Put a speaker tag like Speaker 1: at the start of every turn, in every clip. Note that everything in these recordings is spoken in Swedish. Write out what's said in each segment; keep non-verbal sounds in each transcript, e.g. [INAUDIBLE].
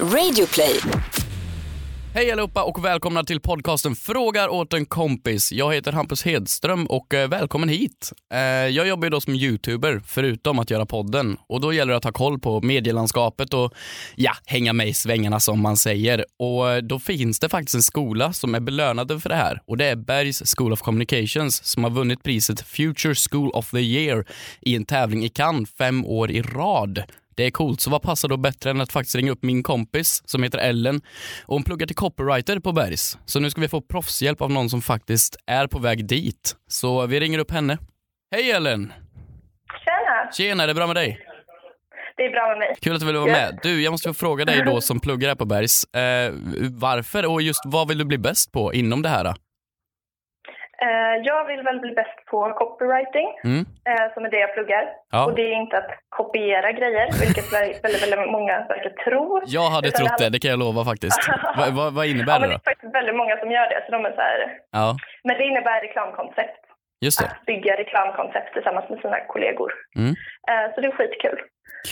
Speaker 1: Radioplay.
Speaker 2: Hej allihopa och välkomna till podcasten Frågar åt en kompis. Jag heter Hampus Hedström och eh, välkommen hit. Eh, Jag jobbar ju då som youtuber förutom att göra podden och då gäller det att ha koll på medielandskapet och ja, hänga med i svängarna som man säger. Och eh, då finns det faktiskt en skola som är belönade för det här och det är Bergs School of Communications som har vunnit priset Future School of the Year i en tävling i Cannes fem år i rad. Det är coolt, så vad passar då bättre än att faktiskt ringa upp min kompis som heter Ellen och hon pluggar till copywriter på Bergs. Så nu ska vi få proffshjälp av någon som faktiskt är på väg dit. Så vi ringer upp henne. Hej Ellen!
Speaker 3: Tjena!
Speaker 2: Tjena, är det bra med dig?
Speaker 3: Det är bra med mig.
Speaker 2: Kul att du ville vara med. Du, jag måste få fråga dig då som pluggar här på Bergs. Eh, varför och just vad vill du bli bäst på inom det här? då?
Speaker 3: Eh, Jag vill väl bli bäst på copywriting,
Speaker 2: Mm.
Speaker 3: eh, som är det jag pluggar.
Speaker 2: Ja.
Speaker 3: Och det är inte att kopiera grejer,
Speaker 2: [LAUGHS]
Speaker 3: vilket väl- väldigt, väldigt många verkar tro.
Speaker 2: Jag hade
Speaker 3: Utan
Speaker 2: trott det,
Speaker 3: handlar-
Speaker 2: det kan jag lova
Speaker 3: [LAUGHS]
Speaker 2: faktiskt. Va, va, vad
Speaker 3: Ja,
Speaker 2: innebär det
Speaker 3: men det
Speaker 2: då?
Speaker 3: är faktiskt väldigt många som gör det. Så de är så här...
Speaker 2: Ja,
Speaker 3: Men det innebär reklamkoncept.
Speaker 2: just det.
Speaker 3: Att bygga reklamkoncept tillsammans med sina kollegor.
Speaker 2: Mm.
Speaker 3: Eh, Så det är skitkul.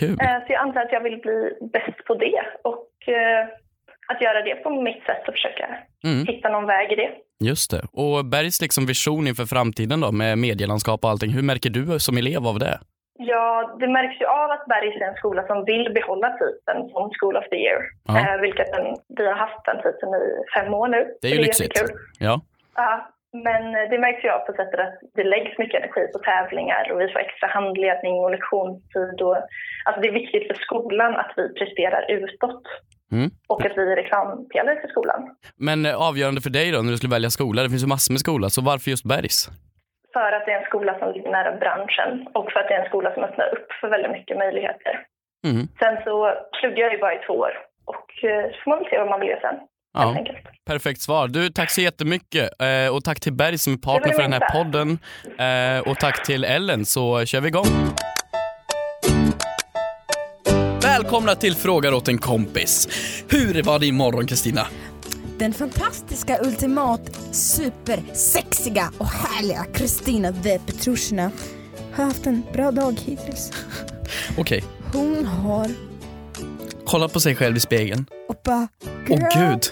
Speaker 2: Kul.
Speaker 3: Eh, Så jag antar att jag vill bli bäst på det. Och eh, att göra det på mitt sätt och försöka
Speaker 2: Mm.
Speaker 3: hitta någon väg i det.
Speaker 2: Just det. Och Bergs liksom vision inför framtiden då med medielandskap och allting. Hur märker du som elev av det?
Speaker 3: Ja, det märks ju av att Bergs är en skola som vill behålla titeln som School of the Year.
Speaker 2: Ja.
Speaker 3: Eh, vilket den, vi har haft den titeln i fem år nu.
Speaker 2: Det är ju lyxigt.
Speaker 3: jättekul.
Speaker 2: Ja.
Speaker 3: Ja, men eh, det märks ju av på sättet att det läggs mycket energi på tävlingar och vi får extra handledning och lektionstid. Och, alltså det är viktigt för skolan att vi presterar utåt
Speaker 2: Mm.
Speaker 3: och att vi är reklampelare för skolan.
Speaker 2: Men eh, avgörande för dig då när du skulle välja skola, det finns ju massor med skola, så varför just Bergs?
Speaker 3: För att det är en skola som ligger nära branschen och för att det är en skola som öppnar upp för väldigt mycket möjligheter.
Speaker 2: Mm.
Speaker 3: Sen så pluggar jag ju bara i två år och eh, så får man väl se vad man vill göra sen. Helt
Speaker 2: Ja,
Speaker 3: enkelt.
Speaker 2: perfekt svar. Du, tack så jättemycket eh, och tack till Berg som är
Speaker 3: Det
Speaker 2: partner
Speaker 3: var
Speaker 2: för den här
Speaker 3: ungefär.
Speaker 2: podden eh, och tack till Ellen så kör vi igång. Välkomna till Frågar åt en kompis. Hur var det imorgon Kristina?
Speaker 4: Den fantastiska, ultimat, supersexiga och härliga Kristina the Petrushina har haft en bra dag hittills.
Speaker 2: Okej,
Speaker 4: Hon har...
Speaker 2: kolla på sig själv i spegeln.
Speaker 4: Och bara...
Speaker 2: Åh
Speaker 4: "Girl,
Speaker 2: gud.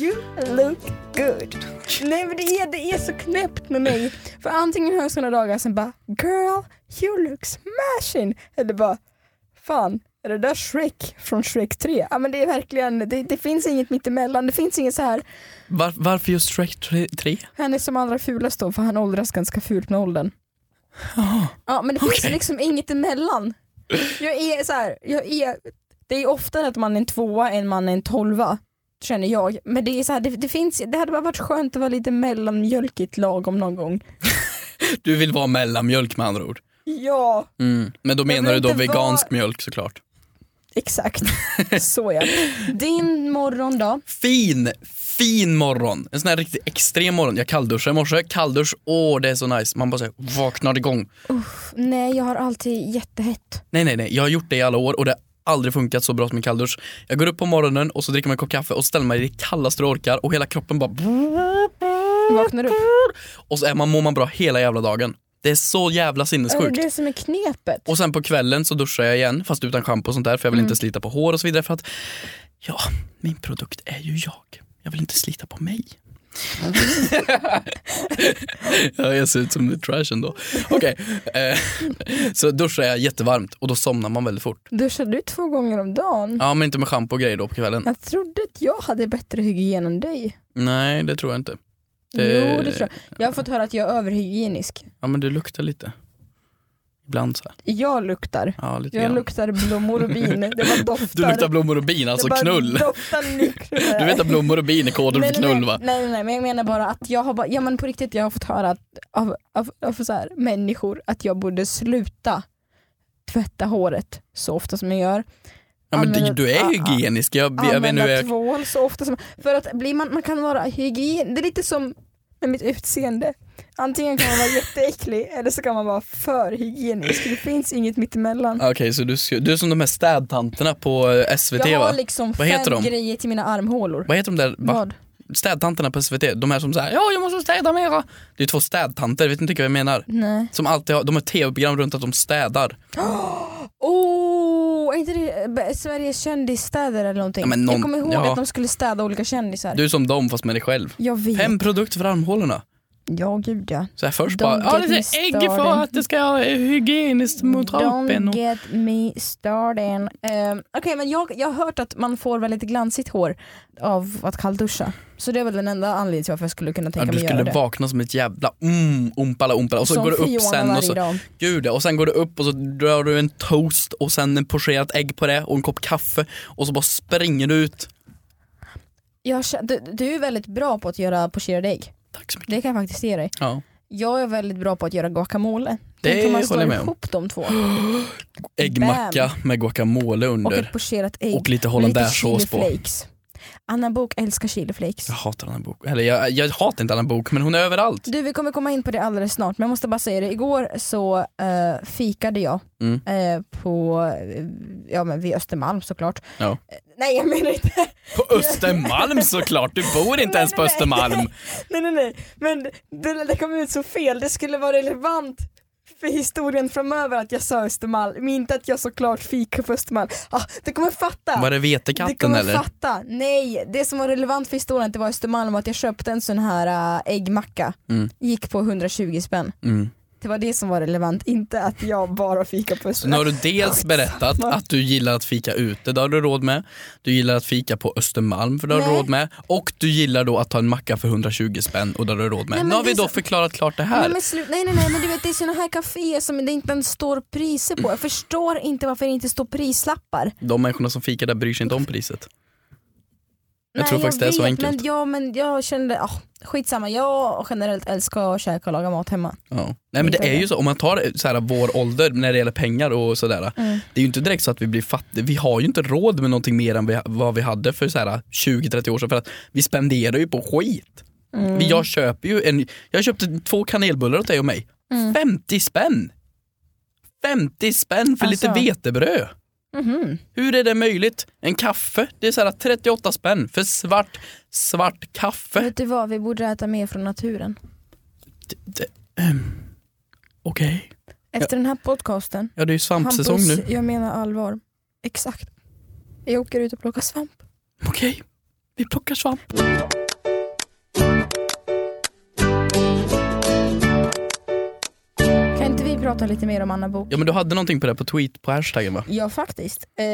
Speaker 4: You look good. Nej men det är, det är så knäppt med mig. För antingen har jag såna dagar som bara Girl, you look smashing. Eller bara Fan, är det där Shrek från Shrek 3? Ja men det är verkligen, det, det finns inget mittemellan. Det finns inget så här
Speaker 2: Var, varför just Shrek 3?
Speaker 4: Han är som allra fulast då för han åldras ganska fult med åldern. Ja men det finns
Speaker 2: Ah. Okej.
Speaker 4: liksom inget emellan. Jag är så här, jag är, det är oftare att man är en tvåa än man är en tolva. Känner jag. Men det är så här, det, det finns, det hade bara varit skönt att vara lite mellanmjölkigt lagom någon gång.
Speaker 2: Du vill vara mellanmjölk med andra ord.
Speaker 4: Ja,
Speaker 2: Mm. Men då menar
Speaker 4: vill
Speaker 2: du då
Speaker 4: inte vara-
Speaker 2: vegansk mjölk såklart. [LAUGHS]
Speaker 4: exakt. Så ja. Din morgon då?
Speaker 2: Fin, fin morgon. En sån här riktigt extrem morgon. Jag kallduschade i morse. Kalldusch, åh det är så nice. Man bara säger vaknar igång.
Speaker 4: Nej jag har alltid jättehett.
Speaker 2: Nej, nej, nej. Jag har gjort det i alla år och det har aldrig funkat så bra som en kalldusch. Jag går upp på morgonen och så dricker man en kopp kaffe och ställer mig i det kallaste jag orkar och hela kroppen bara
Speaker 4: Vaknar upp.
Speaker 2: och så är man, mår man bra hela jävla dagen. Det är så jävla
Speaker 4: Är det
Speaker 2: sinnessjukt.
Speaker 4: det som är knepet?
Speaker 2: Och sen på kvällen så duschar jag igen fast utan schampo och sånt där för jag
Speaker 4: Mm.
Speaker 2: vill inte slita på hår och så vidare för att ja, min produkt är ju jag. Jag vill inte slita på
Speaker 4: [LAUGHS]
Speaker 2: mig. ja, jag ser ut som en trash ändå. Okej, eh, så duschar jag jättevarmt och då somnar man väldigt fort.
Speaker 4: Duschar du två gånger om dagen?
Speaker 2: Ja men inte med schampo och grejer då på kvällen.
Speaker 4: Jag trodde att jag hade bättre hygien än dig.
Speaker 2: Nej det tror jag inte.
Speaker 4: Jo, det tror jag. Jag har fått höra att jag är överhygienisk.
Speaker 2: Ja men du luktar lite. Ibland så här.
Speaker 4: Jag luktar.
Speaker 2: Ja, lite
Speaker 4: Jag
Speaker 2: grann.
Speaker 4: luktar blommor och bin. Det
Speaker 2: [LAUGHS]
Speaker 4: bara doftar.
Speaker 2: du luktar blommor och bin, alltså
Speaker 4: det bara
Speaker 2: knull.
Speaker 4: doftar nyknull.
Speaker 2: [LAUGHS] Du vet att blommor och bin är koden för
Speaker 4: Nej,
Speaker 2: knull va?
Speaker 4: nej, nej, nej, nej, men jag menar bara att jag har bara, ja men på riktigt jag har fått höra att, av, av, av så här, människor att jag borde sluta tvätta håret så ofta som jag gör.
Speaker 2: Ja, men du,
Speaker 4: Använder-
Speaker 2: du är
Speaker 4: ah, ah.
Speaker 2: hygienisk. Jag, jag vet nu
Speaker 4: använda
Speaker 2: hur jag,
Speaker 4: tvål så ofta som För att blir man, man kan vara hygien, det är lite som med mitt utseende. Antingen kan
Speaker 2: [LAUGHS]
Speaker 4: man vara jätteäcklig eller så kan man vara för hygienisk. Det finns inget mittemellan.
Speaker 2: Okej, så du, ska- du är som de här städtanterna på eh, SVT
Speaker 4: Jag
Speaker 2: va?
Speaker 4: har liksom
Speaker 2: Vad heter
Speaker 4: fem
Speaker 2: de?
Speaker 4: grejer till mina armhålor.
Speaker 2: Vad heter de där va?
Speaker 4: Vad?
Speaker 2: städtanterna på SVT? De här som säger ja jag måste städa mera. Det är två städtanter, vet ni inte vad jag menar?
Speaker 4: Nej.
Speaker 2: Som alltid har, de har tv-program runt att de städar.
Speaker 4: Åh, oh, inte det b- Sveriges kändisstäder eller någonting?
Speaker 2: Ja, men någon-
Speaker 4: jag kommer ihåg
Speaker 2: ja.
Speaker 4: att de skulle städa olika kändisar.
Speaker 2: Du är som dem fast med dig själv.
Speaker 4: Jag vet.
Speaker 2: Fem produkter för armhålorna.
Speaker 4: Ja gud ja.
Speaker 2: Så här först
Speaker 4: Don't
Speaker 2: bara, ja
Speaker 4: get
Speaker 2: lite
Speaker 4: me
Speaker 2: ägg för
Speaker 4: started.
Speaker 2: att det ska vara hygieniskt mot
Speaker 4: Don't
Speaker 2: rapen. Och...
Speaker 4: get me started. Um, Okej men jag, jag har hört att man får väldigt glansigt hår av att kallduscha. Så det är väl den enda anledningen till varför jag skulle kunna
Speaker 2: Ja,
Speaker 4: tänka
Speaker 2: du
Speaker 4: mig göra
Speaker 2: skulle
Speaker 4: det.
Speaker 2: vakna som ett jävla mm, umpala umpala och så
Speaker 4: Som
Speaker 2: går du upp
Speaker 4: Fiona
Speaker 2: sen
Speaker 4: varje
Speaker 2: och så,
Speaker 4: dag.
Speaker 2: gud ja, och sen går du upp och så drar du en toast och sen en pocherat ägg på det och en kopp kaffe och så bara springer du ut.
Speaker 4: Jag, kä- du, du är väldigt bra på att göra pocherade ägg.
Speaker 2: Tack så mycket.
Speaker 4: Det kan jag faktiskt ge dig.
Speaker 2: Ja.
Speaker 4: Jag är väldigt bra på att göra guacamole.
Speaker 2: Det
Speaker 4: Tänk om man
Speaker 2: håller
Speaker 4: slår
Speaker 2: jag med om.
Speaker 4: ihop de två.
Speaker 2: Äggmacka med guacamole
Speaker 4: Och
Speaker 2: under
Speaker 4: ett pocherat ägg.
Speaker 2: och lite
Speaker 4: med lite
Speaker 2: hollandaisesås på.
Speaker 4: chiliflakes. Anna Bok älskar chiliflakes.
Speaker 2: Jag hatar Anna Bok. Eller jag, jag hatar inte Anna Bok men hon är överallt.
Speaker 4: Du vi kommer komma in på det alldeles snart men jag måste bara säga det, igår så eh, fikade jag
Speaker 2: Mm.
Speaker 4: eh, på, eh, ja men vid Östermalm såklart.
Speaker 2: Ja.
Speaker 4: Eh, Nej jag menar inte, [LAUGHS]
Speaker 2: På Östermalm såklart, du bor inte ens på
Speaker 4: Nej, nej, nej.
Speaker 2: Östermalm.
Speaker 4: nej nej nej, men det, det kom ut så fel, det skulle vara relevant för historien framöver att jag sa Östermalm, men inte att jag såklart fikade på Östermalm. Ah, du kommer fatta!
Speaker 2: Var det
Speaker 4: Du
Speaker 2: vetekatten
Speaker 4: kommer
Speaker 2: eller?
Speaker 4: fatta, nej det som var relevant för historien det var Östermalm och att jag köpte en sån här äh, äggmacka,
Speaker 2: Mm.
Speaker 4: gick på 120 spänn.
Speaker 2: Mm.
Speaker 4: Det var det som var relevant, inte att jag bara fika på
Speaker 2: Så nu
Speaker 4: Östermalm.
Speaker 2: har du dels berättat att du gillar att fika ute, det har du råd med. Du gillar att fika på Östermalm, för det har du
Speaker 4: Nej.
Speaker 2: råd med. Och du gillar då att ta en macka för 120 spänn och det har du råd med.
Speaker 4: Nej, men
Speaker 2: nu har
Speaker 4: det
Speaker 2: vi
Speaker 4: är
Speaker 2: då
Speaker 4: så-
Speaker 2: förklarat klart det här.
Speaker 4: Nej, men slut, nej nej nej men du vet det är såna här kaféer som det inte ens står priser på. Jag förstår inte varför det inte står prislappar.
Speaker 2: De människorna som fikar där bryr sig inte om priset. Jag
Speaker 4: nej,
Speaker 2: tror faktiskt det är så
Speaker 4: vet,
Speaker 2: enkelt.
Speaker 4: Men, ja men jag kände, ah, skitsamma jag generellt älskar att käka och laga mat hemma.
Speaker 2: Ja. Nej men det är ju så, om man tar så här, vår ålder när det gäller pengar och sådär. Det är ju inte direkt så att vi blir fattiga, vi har ju inte råd med någonting mer än vi, vad vi hade för så här 20-30 år sedan. För att vi spenderar ju på skit. Vi- Jag köper ju en, jag köpte två kanelbullar åt dig och mig. 50 spänn! 50 spänn för lite
Speaker 4: Alltså.
Speaker 2: vetebröd. Hur är det möjligt? En kaffe, det är så här 38 spänn för svart, svart kaffe.
Speaker 4: Vet du vad, vi borde äta mer från naturen.
Speaker 2: Det- ehm, Okej.
Speaker 4: Efter den här podcasten,
Speaker 2: Ja det är ju svampsäsong nu.
Speaker 4: jag menar allvar. Exakt. Jag åker ut och plockar svamp.
Speaker 2: Okej, vi plockar svamp.
Speaker 4: Kan inte vi prata lite mer om Anna Bok?
Speaker 2: Ja men du hade någonting på det på tweet på hashtaggen va?
Speaker 4: Ja faktiskt. Eh,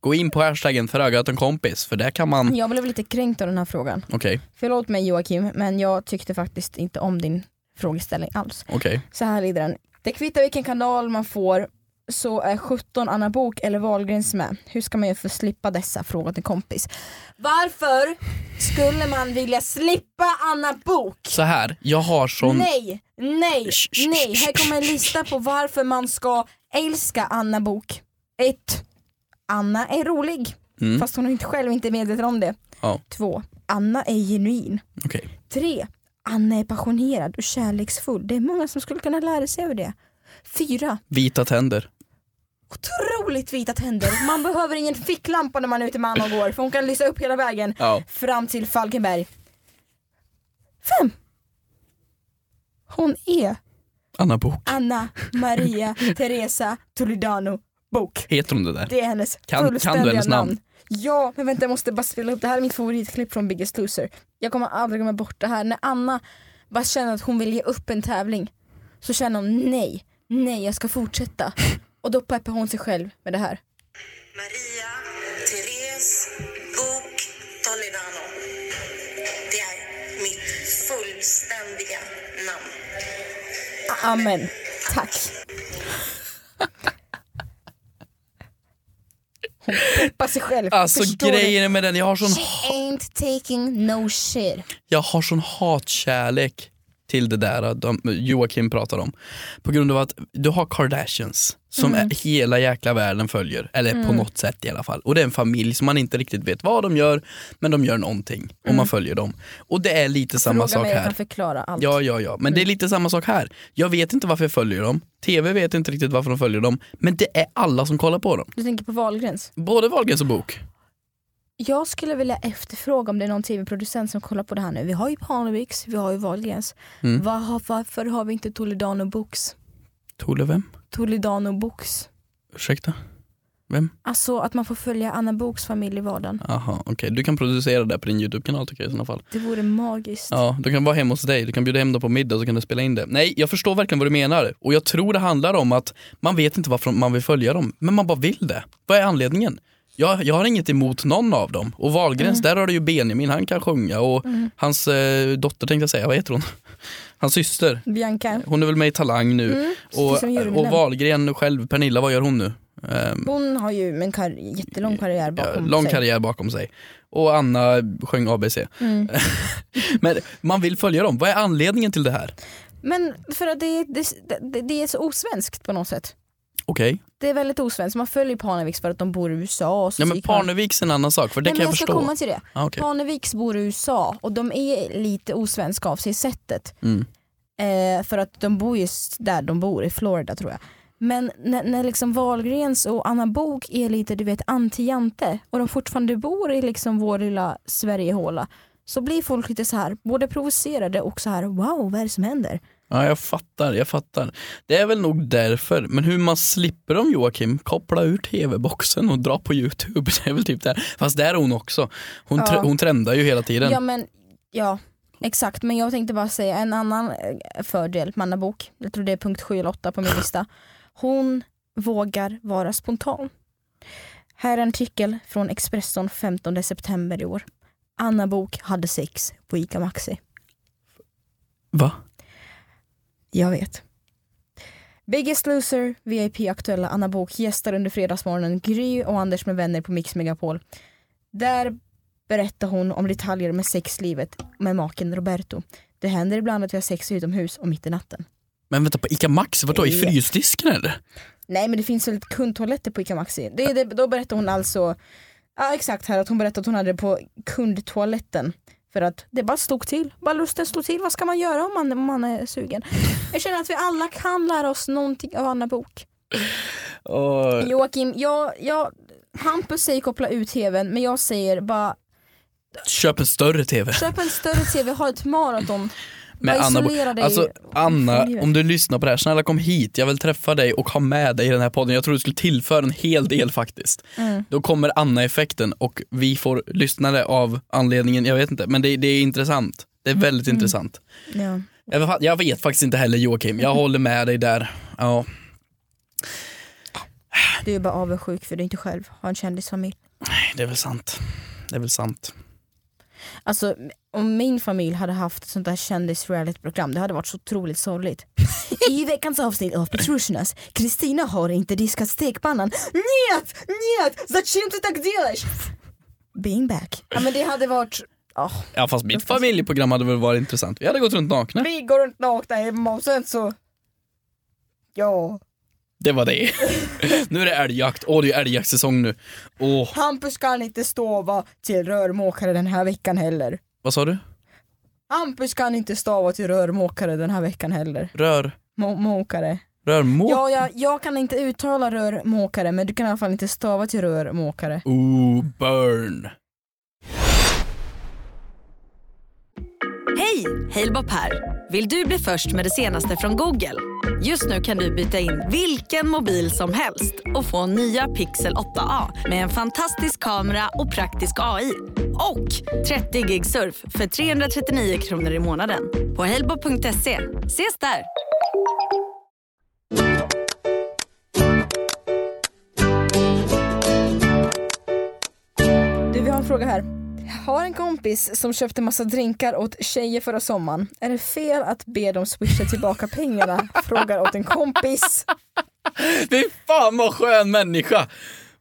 Speaker 2: Gå in på hashtaggen för ögat en kompis för där kan man,
Speaker 4: jag blev lite kränkt av den här frågan.
Speaker 2: okej,
Speaker 4: Förlåt mig Joakim, men jag tyckte faktiskt inte om din frågeställning alls.
Speaker 2: okej.
Speaker 4: Så här lyder den. Det kvittar vilken kanal man får så är 17 Anna Bok eller Wahlgrens med. Hur ska man göra för att slippa dessa? Fråga till kompis. Varför skulle man vilja slippa Anna Bok?
Speaker 2: Så här, jag har sån,
Speaker 4: Nej, nej, nej. Här kommer en lista på varför man ska älska Anna Bok. 1. Anna är rolig,
Speaker 2: Mm.
Speaker 4: fast hon är inte själv inte medveten om det.
Speaker 2: Ja.
Speaker 4: 2. Anna är genuin.
Speaker 2: okej.
Speaker 4: 3. Anna är passionerad och kärleksfull. Det är många som skulle kunna lära sig över det. 4.
Speaker 2: Vita tänder.
Speaker 4: Otroligt vita tänder. Man behöver ingen ficklampa när man är ute med Anna och går för hon kan lysa upp hela vägen
Speaker 2: Ja.
Speaker 4: fram till Falkenberg. 5. Hon är
Speaker 2: Anna Bok.
Speaker 4: Anna
Speaker 2: [LAUGHS]
Speaker 4: Maria Teresa Toledano Bok.
Speaker 2: Heter hon det där?
Speaker 4: Det är hennes
Speaker 2: Kan- kan du
Speaker 4: fullständiga
Speaker 2: hennes namn?
Speaker 4: Ja, men vänta jag måste bara spela upp. Det här är mitt favoritklipp från Biggest Loser. Jag kommer aldrig glömma bort det här. När Anna bara känner att hon vill ge upp en tävling så känner hon nej, nej jag
Speaker 2: [LAUGHS]
Speaker 4: ska fortsätta. Och då peppar hon sig själv med det här.
Speaker 1: Maria Therese Bok Toledano. Det är mitt fullständiga namn.
Speaker 4: Amen. Tack. Hon peppar sig själv.
Speaker 2: Alltså
Speaker 4: Förstår du?
Speaker 2: grejen med den, jag har sån,
Speaker 4: She ain't taking no shit.
Speaker 2: jag har sån hatkärlek till det där äh, de, Joakim pratar om. På grund av att du har Kardashians som
Speaker 4: Mm.
Speaker 2: är, hela jäkla världen följer, eller på något sätt i alla fall. Och det är en familj som man inte riktigt vet vad de gör, men de gör någonting och man följer dem. Och det är lite samma
Speaker 4: Mm. Fråga
Speaker 2: sak
Speaker 4: mig, jag
Speaker 2: här.
Speaker 4: kan förklara allt. Mm.
Speaker 2: Ja, ja, ja. Men det är lite samma sak här. Jag vet inte varför jag följer dem. TV vet inte riktigt varför de följer dem. Men det är alla som kollar på dem.
Speaker 4: Du tänker på Wahlgrens?
Speaker 2: Både Wahlgrens och Bok.
Speaker 4: Jag skulle vilja efterfråga om det är någon tv-producent som kollar på det här nu. Vi har ju Parneviks, vi har ju Wahlgrens.
Speaker 2: Mm.
Speaker 4: Var, har- varför har vi inte Toledano Books?
Speaker 2: Tole vem?
Speaker 4: Toledano Books.
Speaker 2: Ursäkta? Vem?
Speaker 4: Alltså att man får följa Anna Boks familj i vardagen.
Speaker 2: Jaha, okej. Du kan producera det på din YouTube-kanal tycker jag i sådana fall.
Speaker 4: Det vore magiskt.
Speaker 2: Ja, du kan vara hemma hos dig, du kan bjuda hem dem på middag så kan du spela in det. Nej, jag förstår verkligen vad du menar och jag tror det handlar om att man vet inte varför man vill följa dem, men man bara vill det. Vad är anledningen? Jag, jag har inget emot någon av dem och Wahlgrens, där har du ju Benjamin, han kan sjunga och hans eh, dotter tänkte jag säga, vad heter hon? [LAUGHS] Hans syster,
Speaker 4: Bianca,
Speaker 2: hon är väl med i Talang nu.
Speaker 4: precis som
Speaker 2: Och,
Speaker 4: Jurmelen.
Speaker 2: och Wahlgren själv, Pernilla, vad gör hon nu? Ehm,
Speaker 4: hon har ju en kar- jättelång karriär
Speaker 2: Ja,
Speaker 4: bakom
Speaker 2: lång
Speaker 4: sig.
Speaker 2: karriär bakom sig. Och Anna sjöng ABC.
Speaker 4: Mm.
Speaker 2: [LAUGHS] Men man vill följa dem. Vad är anledningen till det här?
Speaker 4: Men för att det, det, det, det är så osvenskt på något sätt.
Speaker 2: Okej.
Speaker 4: Det är väldigt osvenskt. Man följer Parneviks för att de bor i USA. Och så
Speaker 2: Ja, men
Speaker 4: gick man-
Speaker 2: Parneviks är en annan sak, för det kan
Speaker 4: Nej, men
Speaker 2: jag
Speaker 4: ska
Speaker 2: förstå.
Speaker 4: komma till det.
Speaker 2: Ah, okej.
Speaker 4: Parneviks bor i USA och de är lite osvenska av sig i sättet.
Speaker 2: Mm.
Speaker 4: Eh, för att de bor just där de bor, i Florida tror jag. Men när, när liksom Wahlgrens och Anna Bok är lite du vet anti-Jante och de fortfarande bor i liksom vår lilla Sverigehåla så blir folk lite så här både provocerade och så här wow vad är det som händer?
Speaker 2: Ja, jag fattar, jag fattar. Det är väl nog därför. Men hur man slipper dem Joakim, koppla ur tv-boxen och dra på Youtube. [LAUGHS] Det är väl typ där. Fast där är hon också. Hon, tr-
Speaker 4: Ja.
Speaker 2: hon trendar ju hela tiden.
Speaker 4: Ja men ja exakt men jag tänkte bara säga en annan eh, fördel med Anna Bok. Jag tror det är punkt 7 eller 8 på min lista. Hon vågar vara spontan. Här är en artikel från Expressen 15 september i år. Anna Bok hade sex på ICA Maxi.
Speaker 2: Va?
Speaker 4: Jag vet. Biggest Loser, VIP Aktuella, Anna Bok gästar under Fredagsmorgonen Gry och Anders med vänner på Mix Megapol. Där berättar hon om detaljer med sexlivet med maken Roberto. Det händer ibland att vi har sex utomhus och mitt i natten.
Speaker 2: Men vänta, på Ica Maxi, vadå? I
Speaker 4: Ja.
Speaker 2: frysdisken eller?
Speaker 4: Nej men det finns väl kundtoaletter på ICA Maxi? Det, är det, då berättar hon alltså, ja exakt här att hon berättade att hon hade det på kundtoaletten. För att det bara stod till, bara lusten stod till. Vad ska man göra om man, om man är sugen? Jag känner att vi alla kan lära oss någonting av Anna Bok.
Speaker 2: Eh.
Speaker 4: Joakim, jag, jag, Hampus säger koppla ut tvn men jag säger bara
Speaker 2: Köp en större tv.
Speaker 4: köp en större tv, ha ett maraton.
Speaker 2: med
Speaker 4: Bara
Speaker 2: Anna Bo-
Speaker 4: isolera dig
Speaker 2: Alltså Anna,
Speaker 4: från livet.
Speaker 2: om du lyssnar på det här, snälla kom hit. Jag vill träffa dig och ha med dig i den här podden. Jag tror du skulle tillföra en hel
Speaker 4: [LAUGHS]
Speaker 2: del faktiskt.
Speaker 4: Mm.
Speaker 2: Då kommer Anna-effekten och vi får lyssnare av anledningen, jag vet inte, men det, det är intressant. Det är
Speaker 4: Mm.
Speaker 2: väldigt intressant.
Speaker 4: Ja.
Speaker 2: Jag, vet- jag vet faktiskt inte heller Joakim,
Speaker 4: Mm.
Speaker 2: jag håller med dig där. Ja.
Speaker 4: Du är bara avundsjuk för du inte själv har en kändisfamilj.
Speaker 2: Nej, Det är väl sant. Det är väl sant.
Speaker 4: Alltså om min familj hade haft ett sånt där kändis-realityprogram det hade varit så otroligt sorgligt. I veckans avsnitt av Petrushinas, Kristina har inte diskat stekpannan. Njet! Njet! Зачем ты так делаешь? Being back. Ah. Ja men det hade varit, ja.
Speaker 2: Ja fast mitt familjeprogram hade väl varit intressant. Vi hade gått runt nakna.
Speaker 4: Vi går runt nakna hemma och sen så... Ja.
Speaker 2: Det var det. [LAUGHS] nu är det älgjakt. Åh det är ju älgjaktssäsong nu. Åh,
Speaker 4: Hampus kan inte stava till rörmokare den här veckan heller.
Speaker 2: vad sa du?
Speaker 4: Hampus kan inte stava till rörmokare den här veckan heller.
Speaker 2: Rör,
Speaker 4: Mo- mokare.
Speaker 2: rörmåk?
Speaker 4: Ja, jag, jag kan inte uttala rörmokare men du kan i alla fall inte stava till rörmokare.
Speaker 2: Ooh, burn.
Speaker 5: Hej! Halebop här. Vill du bli först med det senaste från Google? Just nu kan du byta in vilken mobil som helst och få nya Pixel 8A med en fantastisk kamera och praktisk AI. Och 30 gig surf för 339 kronor i månaden på halebop.se. Ses där!
Speaker 4: Du, vi har en fråga här. Har en kompis som köpte massa drinkar åt tjejer förra sommaren. Är det fel att be dem swisha tillbaka pengarna?
Speaker 2: [LAUGHS]
Speaker 4: Frågar åt en kompis.
Speaker 2: Fy fan vad skön människa!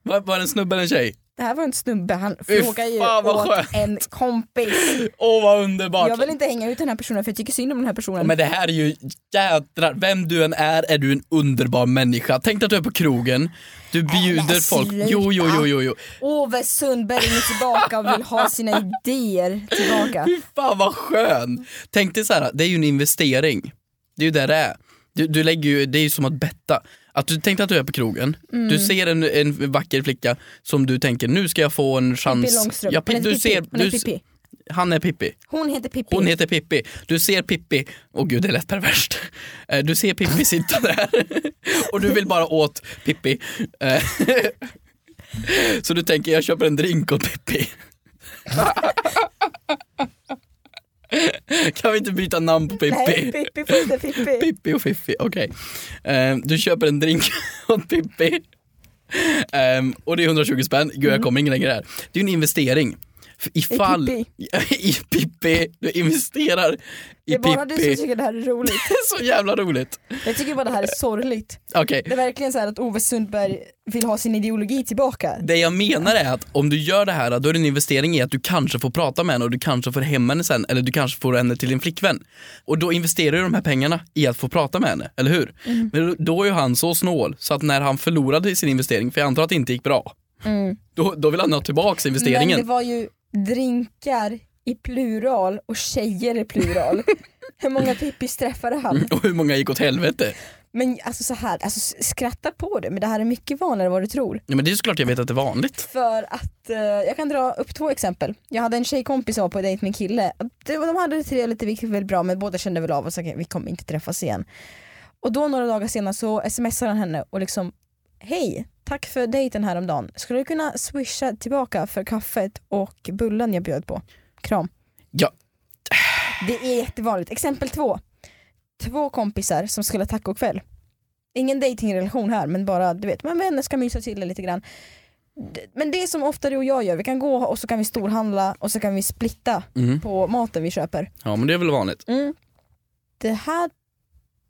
Speaker 2: Var, var det en snubbe eller en tjej?
Speaker 4: Det här var en snubbe, han
Speaker 2: Fy
Speaker 4: frågar ju
Speaker 2: fan, vad
Speaker 4: åt
Speaker 2: skönt.
Speaker 4: en kompis.
Speaker 2: Åh vad underbart!
Speaker 4: Jag vill inte hänga ut den här personen för jag tycker synd om den här personen.
Speaker 2: Men det här är ju jädrar, vem du än är är du en underbar människa. Tänk dig att du är på krogen, du bjuder
Speaker 4: men
Speaker 2: folk.
Speaker 4: sluta.
Speaker 2: Jo, jo, jo, jo, jo.
Speaker 4: Ove Sundberg är tillbaka och vill ha sina idéer tillbaka.
Speaker 2: Fy fan vad skön! Tänk dig så här, det är ju en investering. Det är ju där det är. Du, du lägger ju, det är ju som att betta. Att du tänkte att du är på krogen,
Speaker 4: Mm.
Speaker 2: du ser en, en vacker flicka som du tänker nu ska jag få en
Speaker 4: Pippi
Speaker 2: chans.
Speaker 4: Långstrump.
Speaker 2: Ja,
Speaker 4: Hon
Speaker 2: pi-
Speaker 4: heter
Speaker 2: du
Speaker 4: Pippi.
Speaker 2: ser,
Speaker 4: Hon heter
Speaker 2: du, s-
Speaker 4: Pippi.
Speaker 2: han är Pippi.
Speaker 4: Hon heter Pippi.
Speaker 2: Hon heter Pippi. Du ser Pippi, åh gud det lät perverst. Eh,
Speaker 4: [LAUGHS]
Speaker 2: [LAUGHS] Du ser Pippi sitta där och du vill bara åt Pippi. Eh, [LAUGHS] Så du tänker jag köper en drink åt Pippi? [LAUGHS] kan vi inte byta namn på
Speaker 4: Nej,
Speaker 2: Pippi?
Speaker 4: Pippi får inte Pippi.
Speaker 2: Pippi och Fiffi, okej. Eh, du köper en drink [LAUGHS] åt Pippi. Ehm, och det är 120 spänn. Gud jag kommer ingen längre här. Det är ju en investering. För Ifall...
Speaker 4: Pippi.
Speaker 2: [LAUGHS] I Pippi. Du investerar i
Speaker 4: Det är bara du
Speaker 2: Pippi.
Speaker 4: som tycker det här är roligt.
Speaker 2: Det är [LAUGHS] så jävla roligt.
Speaker 4: Jag tycker bara det här är sorgligt.
Speaker 2: Okej.
Speaker 4: Det är verkligen så här att Ove Sundberg vill ha sin ideologi tillbaka.
Speaker 2: Det jag menar är att om du gör det här då är det en investering i att du kanske får prata med henne och du kanske får hem henne sen eller du kanske får henne till din flickvän. Och då investerar du de här pengarna i att få prata med henne, eller hur?
Speaker 4: Mm.
Speaker 2: Men då är ju han så snål så att när han förlorade sin investering, för jag antar att det inte gick bra, då, då vill han ha tillbaka
Speaker 4: Mm. Men
Speaker 2: investeringen.
Speaker 4: det var ju drinkar i plural och tjejer
Speaker 2: [LAUGHS]
Speaker 4: i plural. Hur många Pippis träffade han?
Speaker 2: [LAUGHS] Och hur många gick åt helvete?
Speaker 4: Men alltså så här, alltså s- skratta på det men det här är mycket vanligare än vad du tror.
Speaker 2: Ja, men det är såklart jag vet att det är vanligt.
Speaker 4: För att, eh, jag kan dra upp två exempel. Jag hade en tjejkompis som var på dejt med en kille. Det- De hade det trevligt, det gick väl bra men båda kände väl av oss att vi kommer inte träffas igen. Och då några dagar senare så smsar han henne och liksom Hej, tack för dejten häromdagen. Skulle du kunna swisha tillbaka för kaffet och bullen jag bjöd på? Kram.
Speaker 2: Ja,
Speaker 4: Det är jättevanligt. Exempel två. Två kompisar som skulle ha tacokväll. Ingen datingrelation här men bara du vet, men vänner ska mysa till det lite grann. D- Men det är som ofta du och jag gör, vi kan gå och så kan vi storhandla och så kan vi splitta
Speaker 2: Mm.
Speaker 4: på maten vi köper.
Speaker 2: ja men det är väl vanligt.
Speaker 4: Det här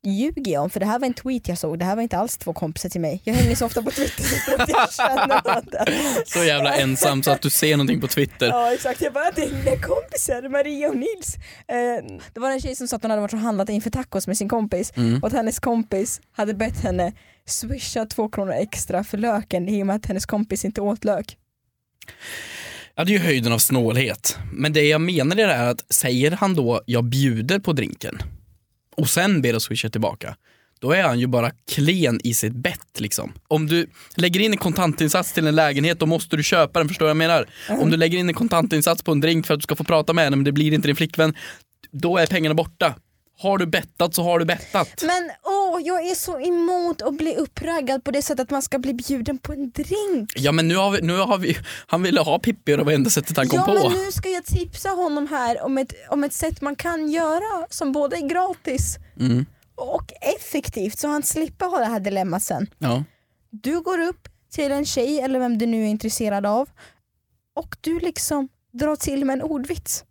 Speaker 4: ljuger jag om för det här var en tweet jag såg, det här var inte alls två kompisar till mig. Jag hänger så ofta på Twitter så att jag känner att det.
Speaker 2: Så jävla ensam så att du ser någonting på Twitter.
Speaker 4: Ja exakt, jag bara det är mina kompisar, Maria och Nils. Eh, det var en tjej som sa att hon hade varit och handlat inför tacos med sin kompis
Speaker 2: Mm.
Speaker 4: och att hennes kompis hade bett henne swisha två kronor extra för löken i och med att hennes kompis inte åt lök.
Speaker 2: Ja det är ju höjden av snålhet. Men det jag menar är det här att säger han då jag bjuder på drinken och sen ber att swisha tillbaka. Då är han ju bara klen i sitt bett liksom. Om du lägger in en kontantinsats till en lägenhet då måste du köpa den, förstår vad jag menar? Om du lägger in en kontantinsats på en drink för att du ska få prata med henne men det blir inte din flickvän, då är pengarna borta. Har du bettat så har du bettat.
Speaker 4: Men åh, jag är så emot att bli uppraggad på det sättet att man ska bli bjuden på en drink.
Speaker 2: Ja men nu har vi, nu har vi han ville ha Pippi och det var enda sättet han kom
Speaker 4: ja
Speaker 2: på.
Speaker 4: men nu ska jag tipsa honom här om ett, om ett sätt man kan göra som både är gratis
Speaker 2: Mm.
Speaker 4: och effektivt så han slipper ha det här dilemmat sen.
Speaker 2: Ja.
Speaker 4: Du går upp till en tjej eller vem du nu är intresserad av och du liksom drar till med en ordvits.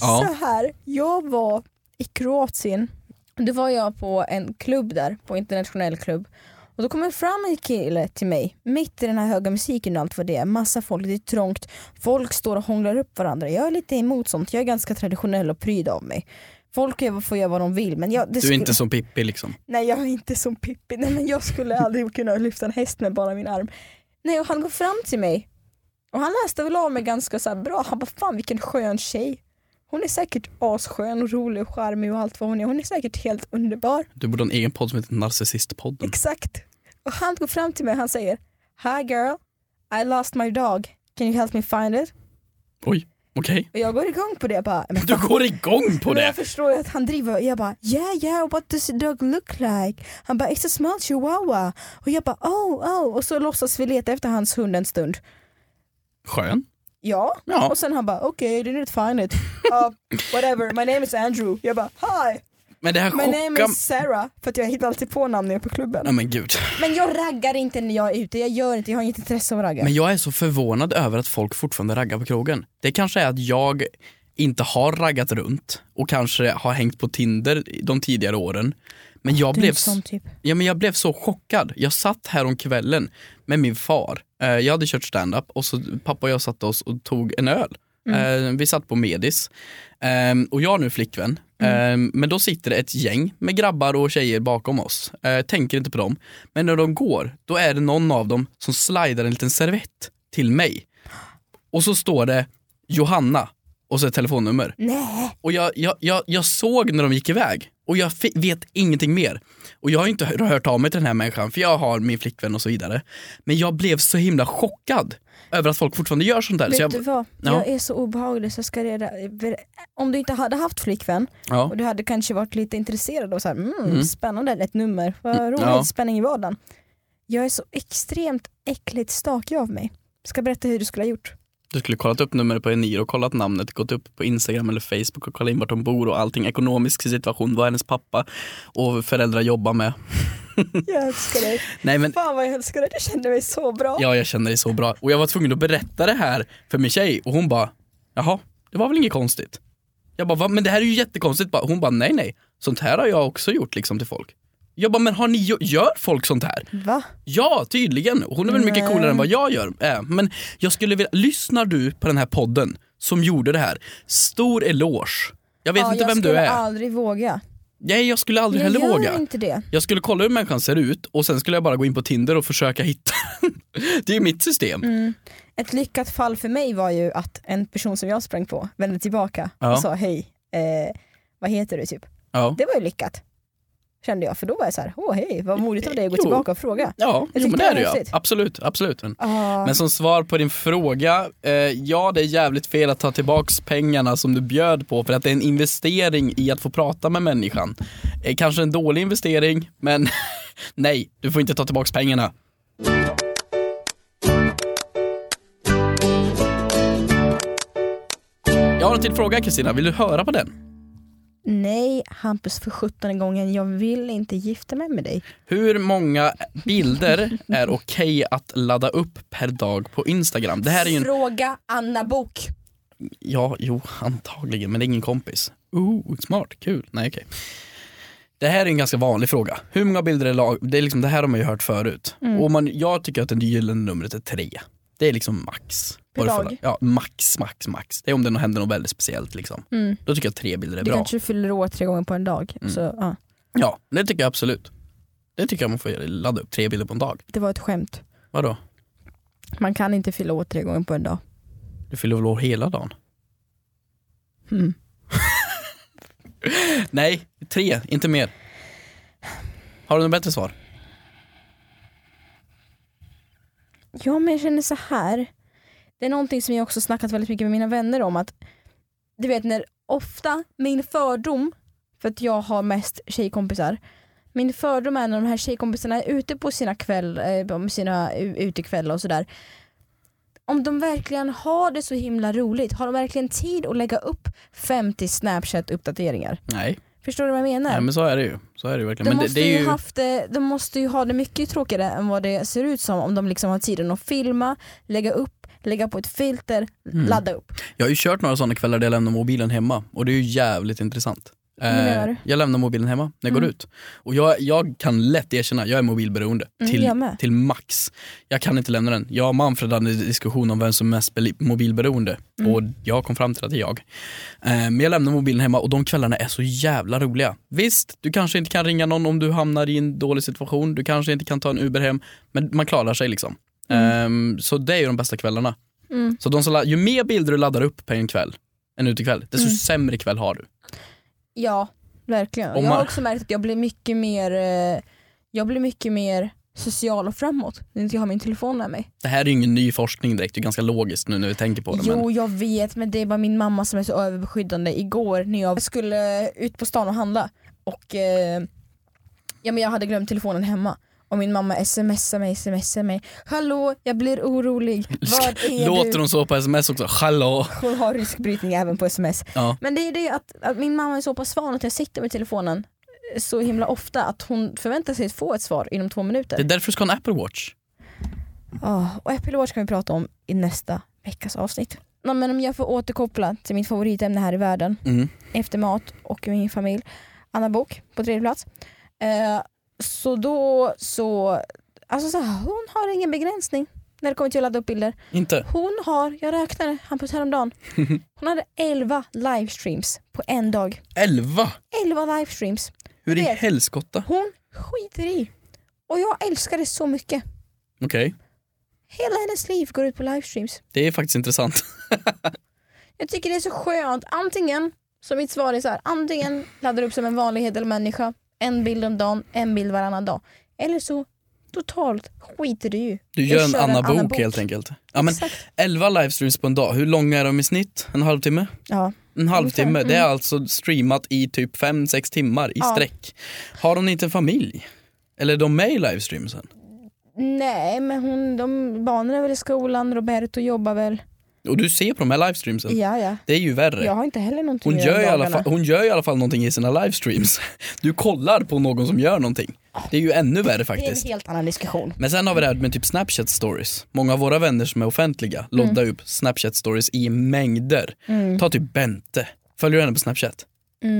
Speaker 2: Ja.
Speaker 4: Så här, jag var i Kroatien, då var jag på en klubb där, på internationell klubb. Och då kommer fram en kille till mig, mitt i den här höga musiken och allt vad det är, massa folk, det är trångt, folk står och hånglar upp varandra. Jag är lite emot sånt, jag är ganska traditionell och pryd av mig. Folk gör- får göra vad de vill men jag, det
Speaker 2: Du är
Speaker 4: skulle-
Speaker 2: inte som Pippi liksom.
Speaker 4: Nej jag är inte som Pippi, nej men jag skulle aldrig kunna lyfta en häst med bara min arm. Nej och han går fram till mig och han läste väl av mig ganska så här bra, han bara fan vilken skön tjej. Hon är säkert asskön och rolig och charmig och allt vad hon är, hon är säkert helt underbar.
Speaker 2: Du borde ha en egen podd som heter Narcissistpodden.
Speaker 4: Exakt. Och han går fram till mig och han säger Hi girl, I lost my dog, can you help me find it?
Speaker 2: Oj, okej.
Speaker 4: Och jag går igång på det jag bara, men
Speaker 2: Du går igång på
Speaker 4: Men
Speaker 2: det!
Speaker 4: jag förstår ju att han driver jag bara yeah yeah what does the dog look like? Han bara it's a small chihuahua och jag bara oh oh och så låtsas vi leta efter hans hund en stund.
Speaker 2: Skön.
Speaker 4: Ja,
Speaker 2: Ja.
Speaker 4: och sen han bara okej okay, I didn't find
Speaker 2: [LAUGHS]
Speaker 4: it. Uh, whatever my name is Andrew. Jag bara hi
Speaker 2: Men det här
Speaker 4: my name
Speaker 2: chockar...
Speaker 4: is Sarah för att jag hittar alltid på namn när jag är
Speaker 2: [LAUGHS]
Speaker 4: på klubben.
Speaker 2: Nej men gud.
Speaker 4: Men jag raggar inte när jag är ute, jag gör inte, jag har inget intresse av att ragga.
Speaker 2: Men jag är så förvånad över att folk fortfarande raggar på krogen. Det kanske är att jag inte har raggat runt och kanske har hängt på Tinder de tidigare åren. Men jag,
Speaker 4: Du är
Speaker 2: blev,
Speaker 4: en sån typ.
Speaker 2: ja, men jag blev så chockad. Jag satt här om kvällen med min far. Eh, Jag hade kört stand-up och så pappa och jag satte oss och tog en öl. Eh, Vi satt på Medis Ehm, och jag har nu flickvän. Ehm, men då sitter det ett gäng med grabbar och tjejer bakom oss. Eh, tänker inte på dem. Men när de går, då är det någon av dem som slidar en liten servett till mig. Och så står det Johanna och så ett telefonnummer.
Speaker 4: Nej.
Speaker 2: Och jag, jag, jag, jag såg när de gick iväg. Och och jag fi- vet ingenting mer. Och jag har inte hör- hört av mig till den här människan för jag har min flickvän och så vidare. Men jag blev så himla chockad över att folk fortfarande gör sånt där.
Speaker 4: Vet
Speaker 2: Så jag,
Speaker 4: du vad?
Speaker 2: Ja.
Speaker 4: Jag är så obehaglig så jag ska reda Om du inte hade haft flickvän
Speaker 2: ja.
Speaker 4: och du hade kanske varit lite intresserad av så här, mm, spännande, ett nummer, vad roligt,
Speaker 2: Mm, ja.
Speaker 4: spänning i vardagen. Jag är så extremt äckligt stakig av mig. Ska berätta hur du skulle ha
Speaker 2: [LAUGHS]
Speaker 4: gjort.
Speaker 2: Du skulle kollat upp numret på Enir och kollat namnet, gått upp på Instagram eller Facebook och kollat in vart de bor och allting, ekonomisk situation, vad hennes pappa och föräldrar jobbar med.
Speaker 4: Jag älskar dig.
Speaker 2: Nej men
Speaker 4: Fan vad jag älskar dig, du känner mig så bra.
Speaker 2: ja, jag känner dig så bra. Och jag var tvungen att berätta det här för min tjej och hon bara, jaha, det var väl inget konstigt. Jag bara, Va? men det här är ju jättekonstigt. Bara- Hon bara, nej nej, sånt här har jag också gjort liksom till folk. Jag bara, men har ni, gö- gör folk sånt här?
Speaker 4: Va?
Speaker 2: Ja, tydligen. Och Hon är väl mycket
Speaker 4: Nej.
Speaker 2: coolare än vad jag gör. Äh, men jag skulle vilja, lyssnar du på den här podden som gjorde det här, stor eloge. Jag vet
Speaker 4: ja,
Speaker 2: inte
Speaker 4: jag
Speaker 2: vem du
Speaker 4: skulle
Speaker 2: är.
Speaker 4: aldrig våga.
Speaker 2: Nej, jag skulle aldrig
Speaker 4: jag
Speaker 2: heller
Speaker 4: gör
Speaker 2: våga.
Speaker 4: inte det.
Speaker 2: Jag skulle kolla hur människan ser ut och sen skulle jag bara gå in på Tinder och försöka hitta den. [LAUGHS] Det är ju mitt system.
Speaker 4: Mm. Ett lyckat fall för mig var ju att en person som jag sprang på vände tillbaka
Speaker 2: Ja.
Speaker 4: och sa hej, eh, vad heter du typ?
Speaker 2: Ja.
Speaker 4: Det var ju lyckat. Kände jag, för då var jag så här, åh hej, vad modigt av dig att gå
Speaker 2: Jo.
Speaker 4: tillbaka och fråga.
Speaker 2: Ja, jo,
Speaker 4: tyckte
Speaker 2: men det
Speaker 4: det
Speaker 2: är
Speaker 4: var
Speaker 2: det ju.
Speaker 4: häftigt.
Speaker 2: Absolut, absolut.
Speaker 4: Ah,
Speaker 2: Men som svar på din fråga, eh, ja det är jävligt fel att ta tillbaks pengarna som du bjöd på för att det är en investering i att få prata med människan. Eh, kanske en dålig investering, men [LAUGHS] nej, du får inte ta tillbaks pengarna. Jag har en till fråga Kristina, vill du höra på den?
Speaker 4: nej Hampus för sjuttonde gången, jag vill inte gifta mig med dig.
Speaker 2: Hur många bilder är okej att ladda upp per dag på Instagram? Det här är ju en
Speaker 4: Fråga Anna Bok.
Speaker 2: Ja, jo, antagligen, men det är ingen kompis. Ooh, smart, kul. Nej, okej. Det här är en ganska vanlig fråga. Hur många bilder är lag? Det, är liksom, det här har man ju hört förut.
Speaker 4: Mm.
Speaker 2: Och man, jag tycker att det gyllene numret är tre. Det är liksom max.
Speaker 4: Per
Speaker 2: Varför-
Speaker 4: dag?
Speaker 2: Ja, max, max, max. Det är om det nå- händer något väldigt speciellt. Liksom.
Speaker 4: Mm.
Speaker 2: Då tycker jag att tre bilder är
Speaker 4: Du
Speaker 2: bra. Mm.
Speaker 4: kanske fyller år tre gånger på en dag. Så, ja.
Speaker 2: Ja, det tycker jag absolut. Det tycker jag man får göra, ladda upp tre bilder på en dag.
Speaker 4: Det var ett skämt.
Speaker 2: Vadå?
Speaker 4: Man kan inte fylla år tre gånger på en dag.
Speaker 2: Du fyller väl år hela dagen?
Speaker 4: Mm.
Speaker 2: [LAUGHS] Nej, tre, inte mer. Har du något bättre svar?
Speaker 4: Ja men jag känner så här. Det är någonting som jag också snackat väldigt mycket med mina vänner om att du vet när ofta min fördom, för att jag har mest tjejkompisar, min fördom är när de här tjejkompisarna är ute på sina kväll, eh, på sina u- utekvällar och sådär. Om de verkligen har det så himla roligt, har de verkligen tid att lägga upp 50 snapchat-uppdateringar?
Speaker 2: Nej.
Speaker 4: Förstår du vad jag menar?
Speaker 2: Nej men så är det ju. Så är det ju verkligen.
Speaker 4: De,
Speaker 2: men det,
Speaker 4: måste
Speaker 2: det är
Speaker 4: ju... haft, det- de måste ju ha det mycket tråkigare än vad det ser ut som om de liksom har tiden att filma, lägga upp, lägga på ett filter,
Speaker 2: Mm.
Speaker 4: ladda upp.
Speaker 2: Jag har ju kört några sådana kvällar där jag lämnar mobilen hemma och det är ju jävligt intressant.
Speaker 4: Men det Mm. gör
Speaker 2: Eh,
Speaker 4: du.
Speaker 2: jag lämnar mobilen hemma när jag går ut. Och jag, jag kan lätt erkänna, jag är mobilberoende
Speaker 4: Mm,
Speaker 2: till,
Speaker 4: jag med.
Speaker 2: till max. Jag kan inte lämna den. Jag och Manfred hade en diskussion om vem som är mest beli- mobilberoende
Speaker 4: Mm.
Speaker 2: och jag kom fram till att det är jag. Eh, men jag lämnar mobilen hemma och de kvällarna är så jävla roliga. Visst, du kanske inte kan ringa någon om du hamnar i en dålig situation. Du kanske inte kan ta en Uber hem, men man klarar sig liksom.
Speaker 4: Mm.
Speaker 2: Eh, så det är ju de bästa kvällarna. Så de som, la- ju mer bilder du laddar upp på en kväll, en utekväll, desto
Speaker 4: Mm.
Speaker 2: sämre kväll har du.
Speaker 4: Ja, verkligen. Och
Speaker 2: Om
Speaker 4: jag
Speaker 2: man-
Speaker 4: har också märkt att jag blir mycket mer, eh, jag blir mycket mer social och framåt när inte jag har min telefon med mig.
Speaker 2: Det här är ju ingen ny forskning direkt, det är ganska logiskt nu när vi tänker på det.
Speaker 4: Jo
Speaker 2: [LAUGHS] Men,
Speaker 4: jag vet men det är bara min mamma som är så överbeskyddande. Igår när jag skulle ut på stan och handla och eh, ja, men jag hade glömt telefonen hemma och min mamma smsar mig, smsar mig. Hallå jag
Speaker 2: [LAUGHS]
Speaker 4: blir orolig, Vad är
Speaker 2: låter
Speaker 4: du?
Speaker 2: hon så på sms också? Hallå!
Speaker 4: Hon har rysk brytning även på sms.
Speaker 2: Ja.
Speaker 4: Men det är det att, att min mamma är så pass van att jag sitter med telefonen så himla ofta att hon förväntar sig att få ett svar inom två minuter.
Speaker 2: Det är därför du ska ha en Apple Watch.
Speaker 4: Ja, och Apple Watch kan vi prata om i nästa veckas avsnitt. Nej, men om jag får återkoppla till mitt favoritämne här i världen,
Speaker 2: Mm.
Speaker 4: efter mat och min familj, Anna Bok på tredje plats. Eh, så då så, alltså så här, hon har ingen begränsning när det kommer till att ladda upp bilder.
Speaker 2: Inte?
Speaker 4: Hon har, jag räknade Hampus häromdagen, hon hade 11 livestreams på en dag.
Speaker 2: 11!
Speaker 4: 11 livestreams.
Speaker 2: Hur i
Speaker 4: Jag vet.
Speaker 2: helskotta?
Speaker 4: Hon skiter i. Och jag älskar det så mycket.
Speaker 2: Okej,
Speaker 4: Hela hennes liv går ut på livestreams.
Speaker 2: det är faktiskt intressant.
Speaker 4: Jag tycker det är så skönt. Antingen Så mitt svar är så här, antingen laddar du upp som en vanlig hederlig människa, en bild om dagen, en bild varannan dag. Eller så totalt skiter du ju.
Speaker 2: [LAUGHS] Du gör en
Speaker 4: kör
Speaker 2: annan bok, helt enkelt. Ja, men
Speaker 4: Exakt.
Speaker 2: 11 livestreams på en dag, hur långa är de i snitt? En halvtimme?
Speaker 4: Ja.
Speaker 2: En halvtimme, det är alltså streamat i typ 5-6 timmar i
Speaker 4: Mm. Ja.
Speaker 2: sträck. Har hon inte en familj? Eller är de med i livestreamsen?
Speaker 4: Nej men hon, de, barnen är väl i skolan, Roberto jobbar väl.
Speaker 2: Och du ser på de här livestreamsen,
Speaker 4: Ja ja.
Speaker 2: det är ju värre.
Speaker 4: Jag har inte heller någonting
Speaker 2: Hon
Speaker 4: att göra
Speaker 2: gör,
Speaker 4: om
Speaker 2: i alla
Speaker 4: dagarna.
Speaker 2: fall, hon gör i alla fall någonting i sina livestreams. [LAUGHS] Du kollar på någon som gör någonting. Det är ju ännu värre
Speaker 4: Det är en
Speaker 2: faktiskt.
Speaker 4: helt annan diskussion.
Speaker 2: Men sen har vi det här med typ Snapchat stories. Många av våra vänner som är
Speaker 4: Mm.
Speaker 2: offentliga loddar upp Snapchat stories i mängder. Ta typ Bente. Följer du henne på Snapchat?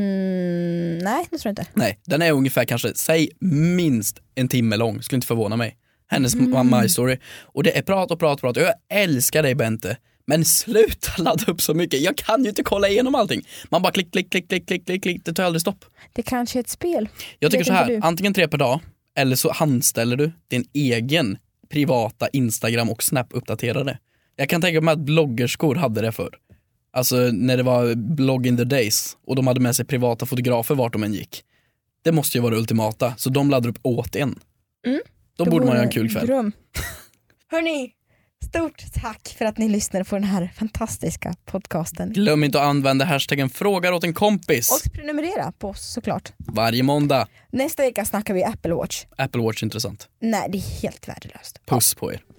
Speaker 4: Mm, nej det tror jag inte.
Speaker 2: Nej, den är ungefär kanske, säg minst en timme lång, skulle inte förvåna mig. Hennes My Story. Och det är prat och prat och prat. Jag älskar dig Bente. Men sluta [LAUGHS] ladda upp så mycket. Jag kan ju inte kolla igenom allting. Man bara klick, klick, klick, klick, klick, klick, klick. Det tar aldrig stopp.
Speaker 4: Det kanske är ett spel.
Speaker 2: Jag tycker
Speaker 4: Vet
Speaker 2: så här,
Speaker 4: inte du.
Speaker 2: antingen tre per dag eller så handställer du din egen privata Instagram och Snap-uppdaterare. Jag kan tänka mig att bloggerskor hade det förr. Alltså när det var blog in the days och de hade med sig privata fotografer vart de än gick. Det måste ju vara det ultimata, så de laddar upp åt en.
Speaker 4: Mm.
Speaker 2: Då borde man
Speaker 4: vore
Speaker 2: ha en kul kväll.
Speaker 4: Dröm. Hörni, stort tack för att ni lyssnar på den här fantastiska podcasten.
Speaker 2: Glöm inte att använda hashtaggen frågar åt en kompis
Speaker 4: Och prenumerera på oss såklart.
Speaker 2: varje måndag.
Speaker 4: Nästa vecka snackar vi Apple Watch.
Speaker 2: Apple Watch är intressant.
Speaker 4: Nej, det är helt värdelöst.
Speaker 2: Puss på er.